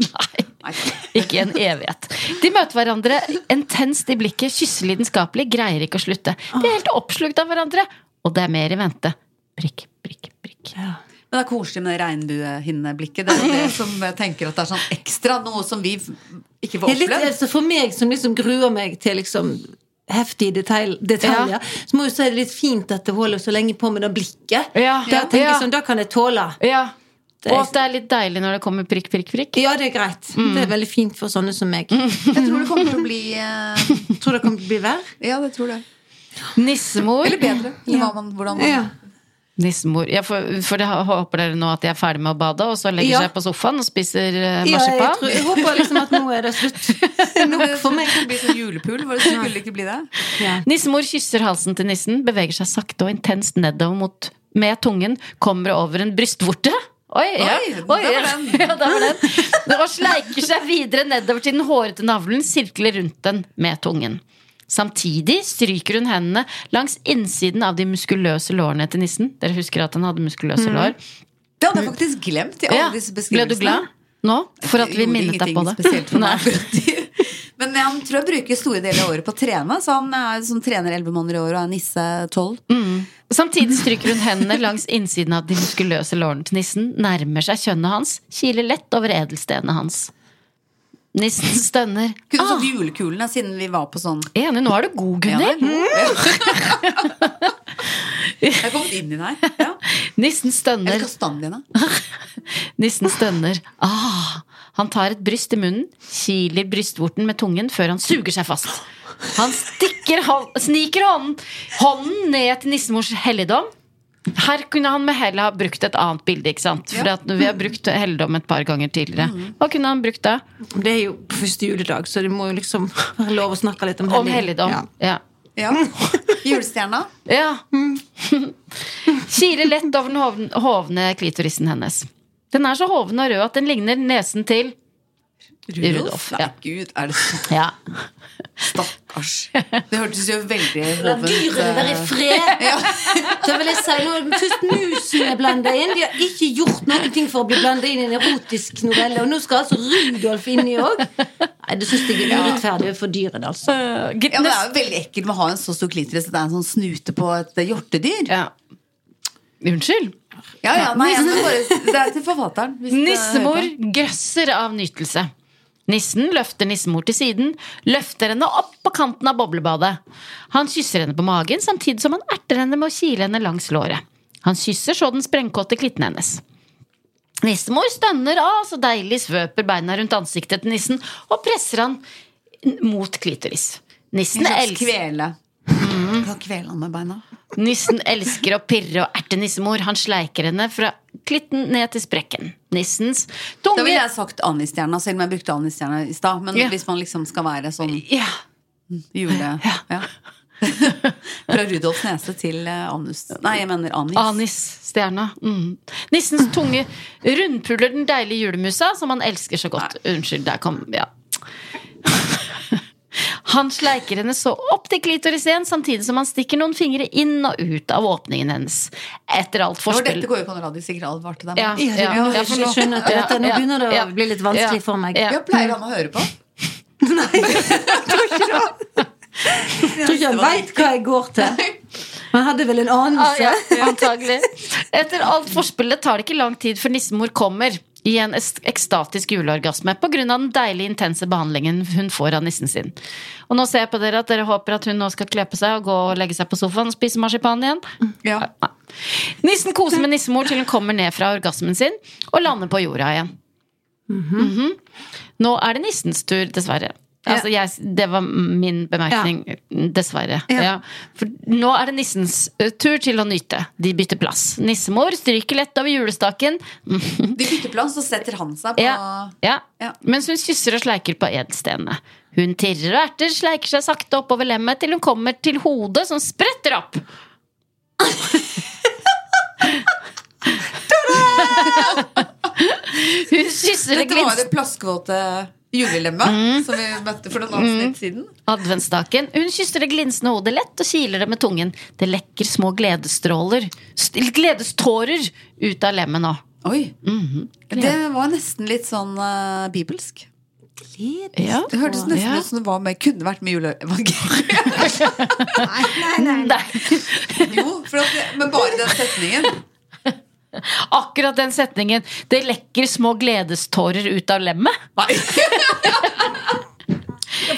Nei.
Ikke en evighet. De møter hverandre intenst i blikket, kysser lidenskapelig, greier ikke å slutte. De er helt oppslukt av hverandre, og det er mer i vente. Prikk, prikk, prikk.
Men det er koselig med det regnbuehinneblikket. Det er jo det som jeg tenker at det er sånn ekstra. Noe som vi ikke får
Det er litt,
opplevd.
altså for meg som liksom gruer meg til liksom heftige detail, detaljer,
Ja.
så må jeg si det er litt fint at det holder så lenge på med det blikket.
Ja.
Da tenker
Ja.
jeg sånn, da kan jeg tåle.
Ja. Og at det er litt deilig når det kommer prikk, prikk, prikk.
Ja, det er greit.
Mm.
Det er veldig fint for sånne som meg.
Jeg tror det kommer til å bli eh,
Tror det kommer til å bli verre.
Ja, det tror jeg.
Nissemor.
Eller bedre. Eller hva man, hvordan man
Nissemor. Ja, for, for det håper dere nå at de er ferdig med å bade, og så legger
Ja.
seg på sofaen og spiser
Ja,
eh,
jeg,
marsipan?
tror, jeg håper liksom at nå er det slutt. (laughs) Nok for meg.
Det blir sånn julepul. Var det skulle det ikke bli det?
Nissemor kysser halsen til nissen, beveger seg sakte og intenst nedover mot med tungen, kommer over en brystvorte. Oi, ja.
Oi, der var
ja.
den.
(laughs) Ja, der var den. Og sleiker seg videre nedover til den hårete navlen, sirkler rundt den med tungen. Samtidig stryker hun hendene langs innsiden av de muskuløse lårene til nissen. Dere husker at han hadde muskuløse lår?
Det hadde jeg faktisk glemt i Mm. alle
Ja.
disse
Ble du
beskrivelsene.
glad nå for at vi
Gjorde
minnet deg på det?
ingenting spesielt for meg (laughs)
Nei.
akkurat i- Men han tror jeg bruker store deler av året på å trene. Så han er som trener elleve måneder i året og er nisse tolv.
Samtidig stryker hun hendene langs innsiden av de muskuløse lårene til nissen, nærmer seg kjønnet hans, kiler lett over edelstenene hans. Nissen stønner.
Kunne
Ah,
sånn julekulene siden vi var på sånn
enig, nå er du god,
ja,
Gunnhild!
nei, jo. Jeg er kommet inn i den her.
(laughs)
Ja.
Nissen
Eller
stønner.
kastanjene.
Nissen stønner. Ah, han tar et bryst i munnen, kiler brystvorten med tungen før han suger seg fast. Han stikker hånd, sniker hånden, hånden ned til nissemors helligdom. Her kunne han med hell ha brukt et annet bilde. ikke sant? For at vi har brukt helligdom et par ganger tidligere. Hva kunne han brukt da?
Det er jo første juledag, så det må jo liksom være lov å snakke litt om
Om
hellig-
helligdom.
Ja.
Ja.
Ja. Julestjerna.
ja. (laughs) Kiler lett over den hovn- hovne klitorisen hennes. Den er så hoven og rød at den ligner nesen til Rudolf,
Nei,
ja.
gud, er det så
Ja.
Stakkars.
(laughs)
Det hørtes jo veldig
La
hovent
dyrene være i
eh,
fred! (laughs) Da vil jeg si nå er det først musene blanda inn. De har ikke gjort noen ting for å bli blanda inn i en erotisk novelle. Og nå skal altså Rudolf inni òg. Nei, det syns jeg er urettferdig for dyrene, altså.
Gitt
Ja, men Det er
nest-
jo veldig ekkelt med å ha en så stor klitoris at det er en sånn snute på et eh, hjortedyr.
ja. Unnskyld.
Ja, ja, nei, jeg skal bare, Det er til forfatteren. hvis det-
Nissemor grøsser av nytelse. Nissen løfter nissemor til siden, løfter henne opp på kanten av boblebadet. Han kysser henne på magen, samtidig som han erter henne med å kile henne langs låret. Han kysser så den sprengkåte klitten hennes. Nissemor stønner av så deilig svøper beina rundt ansiktet til nissen og presser han mot klitoris. Nissen,
En slags
els
kvele.
Mm.
Kan kvele han med beina.
nissen elsker å pirre og erte nissemor. Han sleiker henne fra klitten ned til sprekken. Nissens
Da
tunge
ville jeg sagt Anni-stjerna, selv om jeg brukte Anni-stjerna i stad. Men
Ja.
hvis man liksom skal være sånn
ja.
jule... Ja. (laughs) Fra Rudolfs nese til eh, anus Nei, jeg mener anis.
Anisstjerna. Mm. Nissens tunge rundpuler den deilige julemusa, som han elsker så godt. Unnskyld, der kom Ja. Han sleiker henne så opp til klitoris igjen, samtidig som han stikker noen fingre inn og ut av åpningen hennes. Etter alt
For
forspill.
dette går jo Konradi sikkert advarte deg
Ja,
mot.
ja, ja,
Jeg
for nå-
skjønner at dette, nå
Ja,
begynner det
ja,
å bli litt vanskelig
ja,
for meg.
ja.
Ja, pleier han å høre på?
Jeg tror ikke han veit hva jeg går til. Men han hadde vel en
Ah,
anelse.
ja, (laughs) antagelig. Etter alt forspillet tar det ikke lang tid før nissemor kommer i en est- ekstatisk juleorgasme pga. den deilig intense behandlingen hun får av nissen sin. Og nå ser jeg på dere at dere håper at hun nå skal kle på seg og gå og legge seg på sofaen og spise marsipan igjen.
Ja.
Nei. Nissen koser med nissemor til hun kommer ned fra orgasmen sin og lander på jorda igjen. Mhm. Nå er det nissens tur, dessverre. Altså, jeg, det var min bemerkning, dessverre. Ja. For nå er det nissens eh, tur til å nyte. De bytter plass. Nissemor stryker lett over julestaken. Mhm.
De bytter plan, så setter han seg på
Ja, ja.
Ja.
Mens hun kysser og sleiker på edelstenene. Hun tirrer og erter, sleiker seg sakte oppover lemmet til hun kommer til hodet som spretter opp. hun kysser
Dette
det
var
glins
det plaskvåte julelemmet
Mm.
som vi møtte for noen avsnitt siden.
adventsstaken. Hun kysser det glinsende hodet lett og kiler det med tungen. Det lekker små gledesstråler st- gledestårer ut av lemmet nå.
Oi.
Mhm.
Det var nesten litt sånn eh, bibelsk.
Ja.
Det hørtes nesten ut som det var med, kunne vært med juleevangeliet. (laughs)
Nei.
Jo, for at, det- men bare den setningen.
Akkurat den setningen. Det lekker små gledestårer ut av lemmet.
(laughs)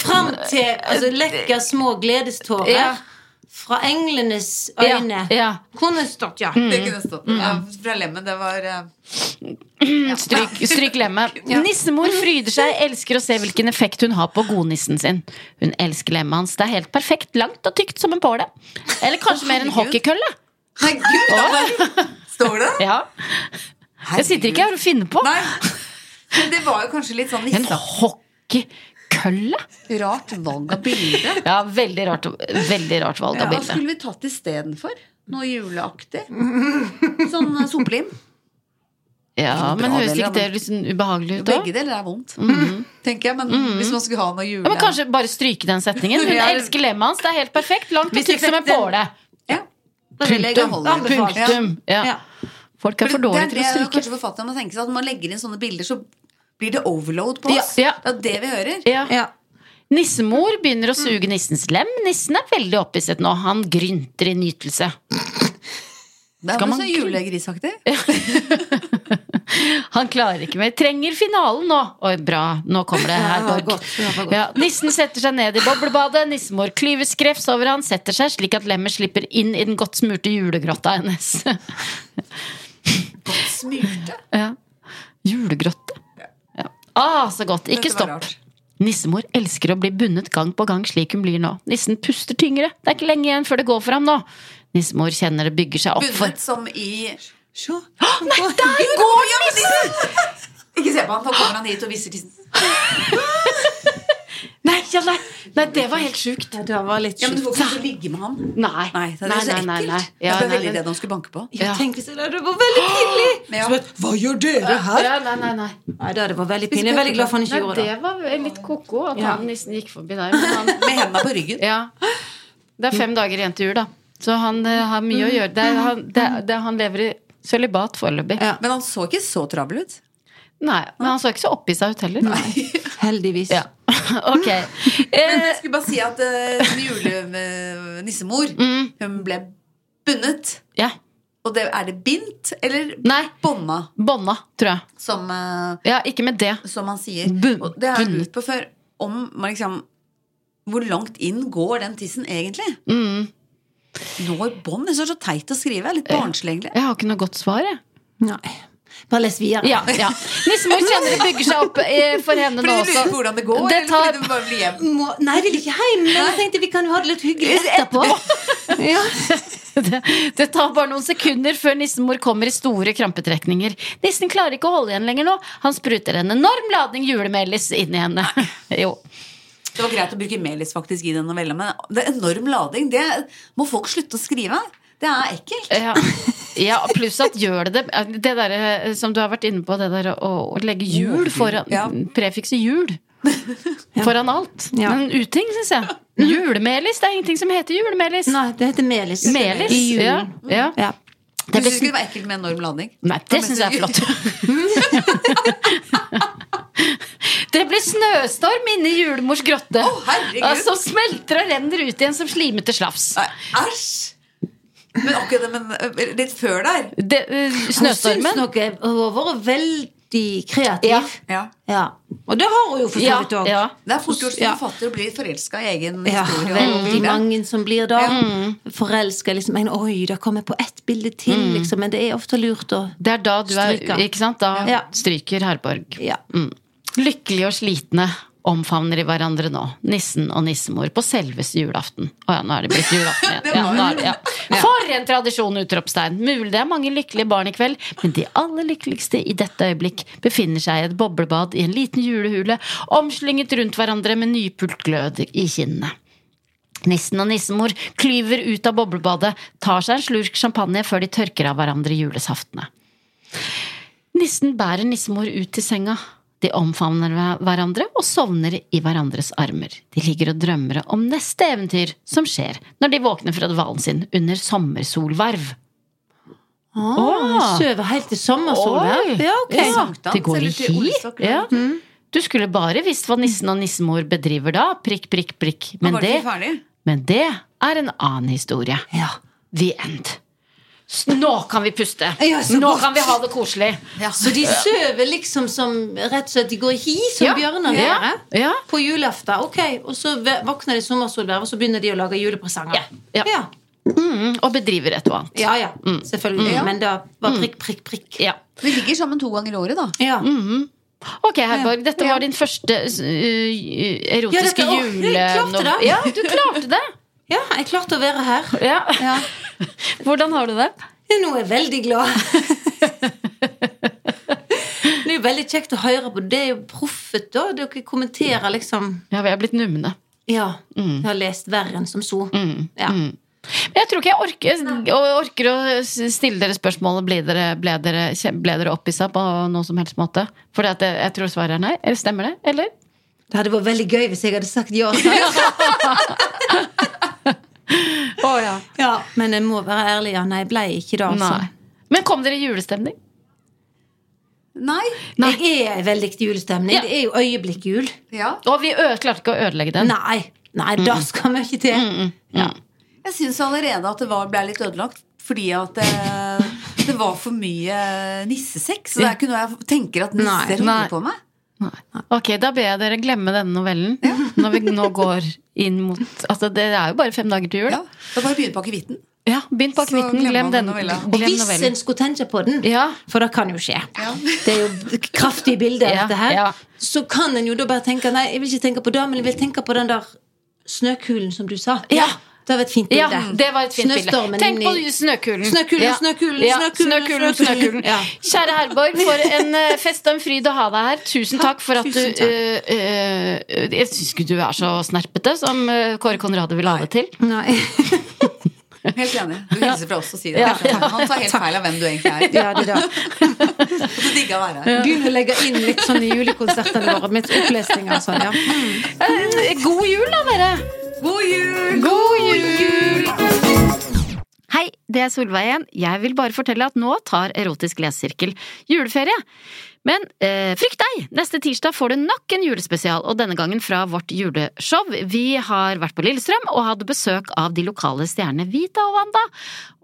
Fram til altså, lekker små gledestårer
Ja.
fra englenes øyne.
Ja, ja.
Kunne stått, ja.
Det kunne stått
Mm.
ja, fra lemmen. Det var eh,
Stryk, stryk
(laughs)
lemmet. Nissemor fryder seg, elsker å se hvilken effekt hun har på godnissen sin. Hun elsker lemmet hans. Det er helt perfekt, langt og tykt som en påle. Eller kanskje mer en hockeykølle.
Nei, gud! da var- Står det?
Ja. Jeg sitter ikke her og finner på.
Nei. Men det var jo kanskje litt sånn
En
nisseaktig.
hockeykølle?
Rart valg av bilde.
(laughs) Ja, veldig rart, veldig rart valg
Ja,
av
hva
bilde.
skulle vi tatt istedenfor? Noe juleaktig? Sånn eh, sopelim?
Ja, men
Bra
høres
deler,
ikke det litt sånn ubehagelig ut da?
Begge deler er vondt, tenker jeg. Men hvis man skulle ha noe jule...
Mhm. Ja, men kanskje bare stryke den setningen. Hun
Ja, eller-
elsker lemmet hans. Det er helt perfekt, langt og
Hvis vi
tykt som en
setter-
påle.
Ja. Da vil jeg
Punktum.
anbefale det.
Punktum. Ja.
Ja.
Folk er
For
for
det
dårlige
er
til å
det
stryke.
kanskje forfatteren må tenke seg, at når man legger inn sånne bilder, så blir det overload på
Ja,
oss.
ja.
Det er det vi hører.
Ja. Nissemor begynner å suge nissens lem. Nissen er veldig opphisset nå. Han grynter i nytelse.
Det er
Skal
jo
man
så
ikke-
julegrisaktig.
Han klarer ikke mer. Trenger finalen nå. Oi, bra. Nå kommer det her, Borg. Ja, nissen setter seg ned i boblebadet. Nissemor klyver skrefs over han, setter seg slik at lemmet slipper inn i den godt smurte julegrotta hennes. (laughs)
Smurte.
Ja. Julegrotte. Ja. Ah, så godt. Ikke
Dette var
stopp.
rart.
Nissemor elsker å bli bundet gang på gang slik hun blir nå. Nissen puster tyngre. Det er ikke lenge igjen før det går for ham nå. Nissemor kjenner det bygger seg opp for
Bundet som i Sjå. Nei, der går nissen! Ikke se på han, for kommer han hit og viser tissen.
Nei, ja, nei. nei, det var helt sjukt.
Ja, det var litt
Ja, men du får
sjukt.
ikke lov til å ligge med han.
Nei.
Nei, det er så ekkelt.
Ja,
jeg ble
nei,
veldig
men-
redd han skulle banke på.
Ja, tenk hvis det det var veldig
(gasps)
pinlig!
Men ja.
Så bare, Hva gjør dere her?
Ja, nei, nei, nei.
Nei, da, det var veldig pinlig. Jeg er veldig glad for han ikke
Nei,
gjorde det.
det var vel litt koko at
Ja.
han nissen gikk forbi der. Men han,
Med hendene på ryggen.
ja. Det er fem dager igjen til jul, da. Så han eh, har mye å gjøre. Det er, han, det, det, han lever i sølibat foreløpig.
Ja. Men han så ikke så travel ut.
Nei, men han så ikke så oppi seg ut heller.
Heldigvis.
Ja. (laughs) Ok.
Men
Eh,
jeg skulle bare si at eh, min julenissemor, hun ble bundet.
ja.
Og det, er det bindt eller
Nei.
bånda,
Bånda, tror jeg.
som, eh,
Ja, ikke med det.
som man sier?
Bun-
Og det har jeg lurt på før. Om man liksom Hvor langt inn går den tissen egentlig?
Mm.
Når bånd? Det er så teit å skrive. Litt barnslig, egentlig.
Jeg har ikke noe godt svar, jeg.
Nei. Bare les videre.
Ja, ja. Nissemor kjenner det bygger seg opp eh, for henne
Fordi
nå
du
også.
lurer på hvordan det går?
Det
eller
tar-
fordi du bare vil hjem?
altså, Må, nei, jeg vil ikke hjem, men jeg tenkte vi kan jo ha det litt hyggelig etterpå. (laughs) Ja.
(laughs) Det, det tar bare noen sekunder før nissemor kommer i store krampetrekninger. Nissen klarer ikke å holde igjen lenger nå. Han spruter en enorm ladning julemelis inn i henne. (laughs) Jo.
Det var greit å bruke melis faktisk i den novella, men det er enorm lading. Det må folk slutte å skrive. Det er
Eh,
ekkelt.
Ja. ja, pluss at gjør det det Det der, eh, som du har vært inne på, det der å, å legge jul foran
Ja.
Prefikset jul. Foran alt.
(laughs) Ja.
Men uting, syns
(laughs)
jeg. Julemelis. Det er ingenting som heter julemelis.
Nei, det heter melis.
Melis.
I julen.
Ja. ja.
Ja.
Det
blir-
Hvis det skulle være ekkelt med enorm lading.
Nei, det syns jeg er flott. (laughs) Det blir snøstorm inne i julemors grotte.
Å, herregud.
Ja, Som smelter og renner ut igjen som slimete slafs.
(laughs) Nei, Æsj! Men akkurat det, men eh, litt før der.
Det, eh,
Hun syns
snøstormen.
nok jeg har vært veldig kreativ.
Ja.
Ja.
Ja. Og det har hun jo for så
Ja,
vidt òg.
ja.
Det er fort gjort som
Ja.
forfatter å bli forelska i egen
Ja,
historie.
veldig
Ja.
mange som blir da
Ja.
Mm.
forelska. Liksom, men, Oi, det kommer på ett bilde til, liksom. Men det er ofte lurt å
Det er da du er
Stryker.
Ikke sant? Da
Ja.
stryker Herborg.
Ja.
Lykkelige Mm. og slitne omfavner de hverandre nå. Nissen og nissemor på selveste julaften. Å ja, nå er det blitt julaften igjen.
Det
Ja,
var
nå
jo-
er det, ja. For en tradisjon! Utropstegn. Mulig det er mange lykkelige barn i kveld, men de aller lykkeligste i dette øyeblikk befinner seg i et boblebad i en liten julehule, omslynget rundt hverandre med nypult glød i kinnene. Nissen og nissemor klyver ut av boblebadet, tar seg en slurk champagne før de tørker av hverandre julesaftene. Nissen bærer nissemor ut til senga. De omfavner hver- hverandre og sovner i hverandres armer. De ligger og drømmer om neste eventyr som skjer når de våkner fra dvalen sin under sommersolverv.
Å, Ah, Sover helt til sommersolverv?
Oi.
Ja, ok.
Ja.
Sankthans,
Det går
eller
i
til
hi.
Olsok, eller?
Ja. Du skulle bare visst hva nissen og nissemor bedriver da. Prikk, prikk, prikk. Men
Var det
det
ikke farlig?
men det er en annen historie. The end. S- Nå kan vi puste!
Ja, så
Nå
godt.
kan vi ha det koselig.
Så de sover liksom som rett og slett De går i hi, som
Ja.
bjørner
Ja.
gjør. eh?
Ja.
På julaften. Ok, Og så v- våkner de i sommersolverv, og så begynner de å lage julepresanger.
Ja. Ja.
ja.
Mm, og bedriver et og annet.
Ja, ja, selvfølgelig. Men det var prikk, prikk, prikk.
Mm. Ja. Mm.
Vi ligger sammen to ganger i året, da.
Ja,
Ok, Herborg, dette var din første uh,
Ja,
erotiske
dette- å, jeg klarte
julenov-
det.
Ja, du klarte det!
ja jeg klarte å være her.
Ja.
Ja.
Hvordan har du det?
Ja, Nå er jeg veldig glad. Det er jo veldig kjekt å høre på. Det er jo proffet, da. Dere kommenterer liksom
Ja, vi er blitt numne.
Ja,
Mm.
jeg har lest verre enn som så. Ja.
Men jeg tror ikke jeg orker, og orker å s- stille dere spørsmålet ble dere, ble dere, kje- ble dere oppissa på noen som helst måte. For jeg, jeg tror svaret er nei. Eller Stemmer det? Eller?
Det hadde vært veldig gøy hvis jeg hadde sagt ja.
(laughs)
Sant?
ja.
ja. Men jeg må være ærlig. Ja, nei, jeg ble ikke det, altså.
Nei. Men kom dere i julestemning?
Nei.
Jeg er i veldig julestemning.
Ja.
Det er jo øyeblikkjul.
Ja.
Og vi ø klarte ikke å ødelegge den.
Nei, nei, det skal vi ikke
Mm.
til.
Jeg syns allerede at det var, ble litt ødelagt. Fordi at det, det var for mye eh, nissesex. Så det er ikke noe jeg tenker at
Nei,
nisser
nei.
holder på med.
Ok, da ber jeg dere glemme denne novellen når vi nå går inn mot Altså, det er jo bare fem dager til jul.
Ja.
Ja,
Da bare begynn på akevitten.
Begynn på
Så
akevitten,
glemmer
glem
man
den.
novella.
Og
Glem
hvis en
novellen.
skulle tenke på den,
Ja.
for det kan jo skje Det er jo kraftige bilder,
Ja,
dette her.
ja.
Så kan en jo da bare tenke Nei, jeg vil ikke tenke på det, men jeg vil tenke på den der snøkulen som du sa.
Ja.
Det var et fint bilde.
Ja, det var et fint bilde.
Snøstormen
Tenk
inn
på
i-
snøkulen.
Snøkulen,
ja.
snøkulen,
ja.
snøkulen,
snøkulen,
snøkulen.
snøkulen.
Ja.
Kjære Herborg, for en eh, fest og en fryd å ha deg her. Tusen takk for at du
Tusen takk.
eh, eh, Jeg syns ikke du er så snerpete som eh, Kåre Konrade vil ha det til.
Nei.
Helt enig. Du hilser fra oss og sier det.
Ja.
Han tar helt feil av hvem du egentlig er.
Ja, det da.
Du digger å være her.
Begynn å legge inn litt sånn i julekonsertene våre. Med opplesninger og sånn, ja.
Eh, God jul, da, dere!
God jul!
God jul! Hei, det er Solveig igjen. Jeg vil bare fortelle at nå tar Erotisk lesesirkel juleferie. Men eh, frykt deg! Neste tirsdag får du nok en julespesial, og denne gangen fra vårt juleshow. Vi har vært på Lillestrøm og hadde besøk av de lokale stjernene Vita og Wanda.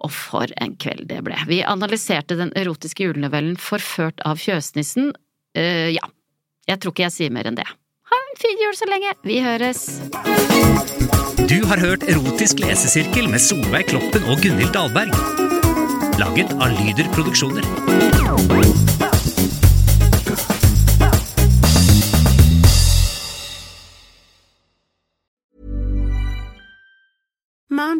Og for en kveld det ble. Vi analyserte den erotiske julenovellen Forført av fjøsnissen. Eh, ja, jeg tror ikke jeg sier mer enn det. Ha en fin jul så lenge! Vi høres!
Du har hørt Erotisk lesesirkel med Solveig Kloppen og Gunhild Dahlberg. Laget av Lyder Produksjoner.
Mom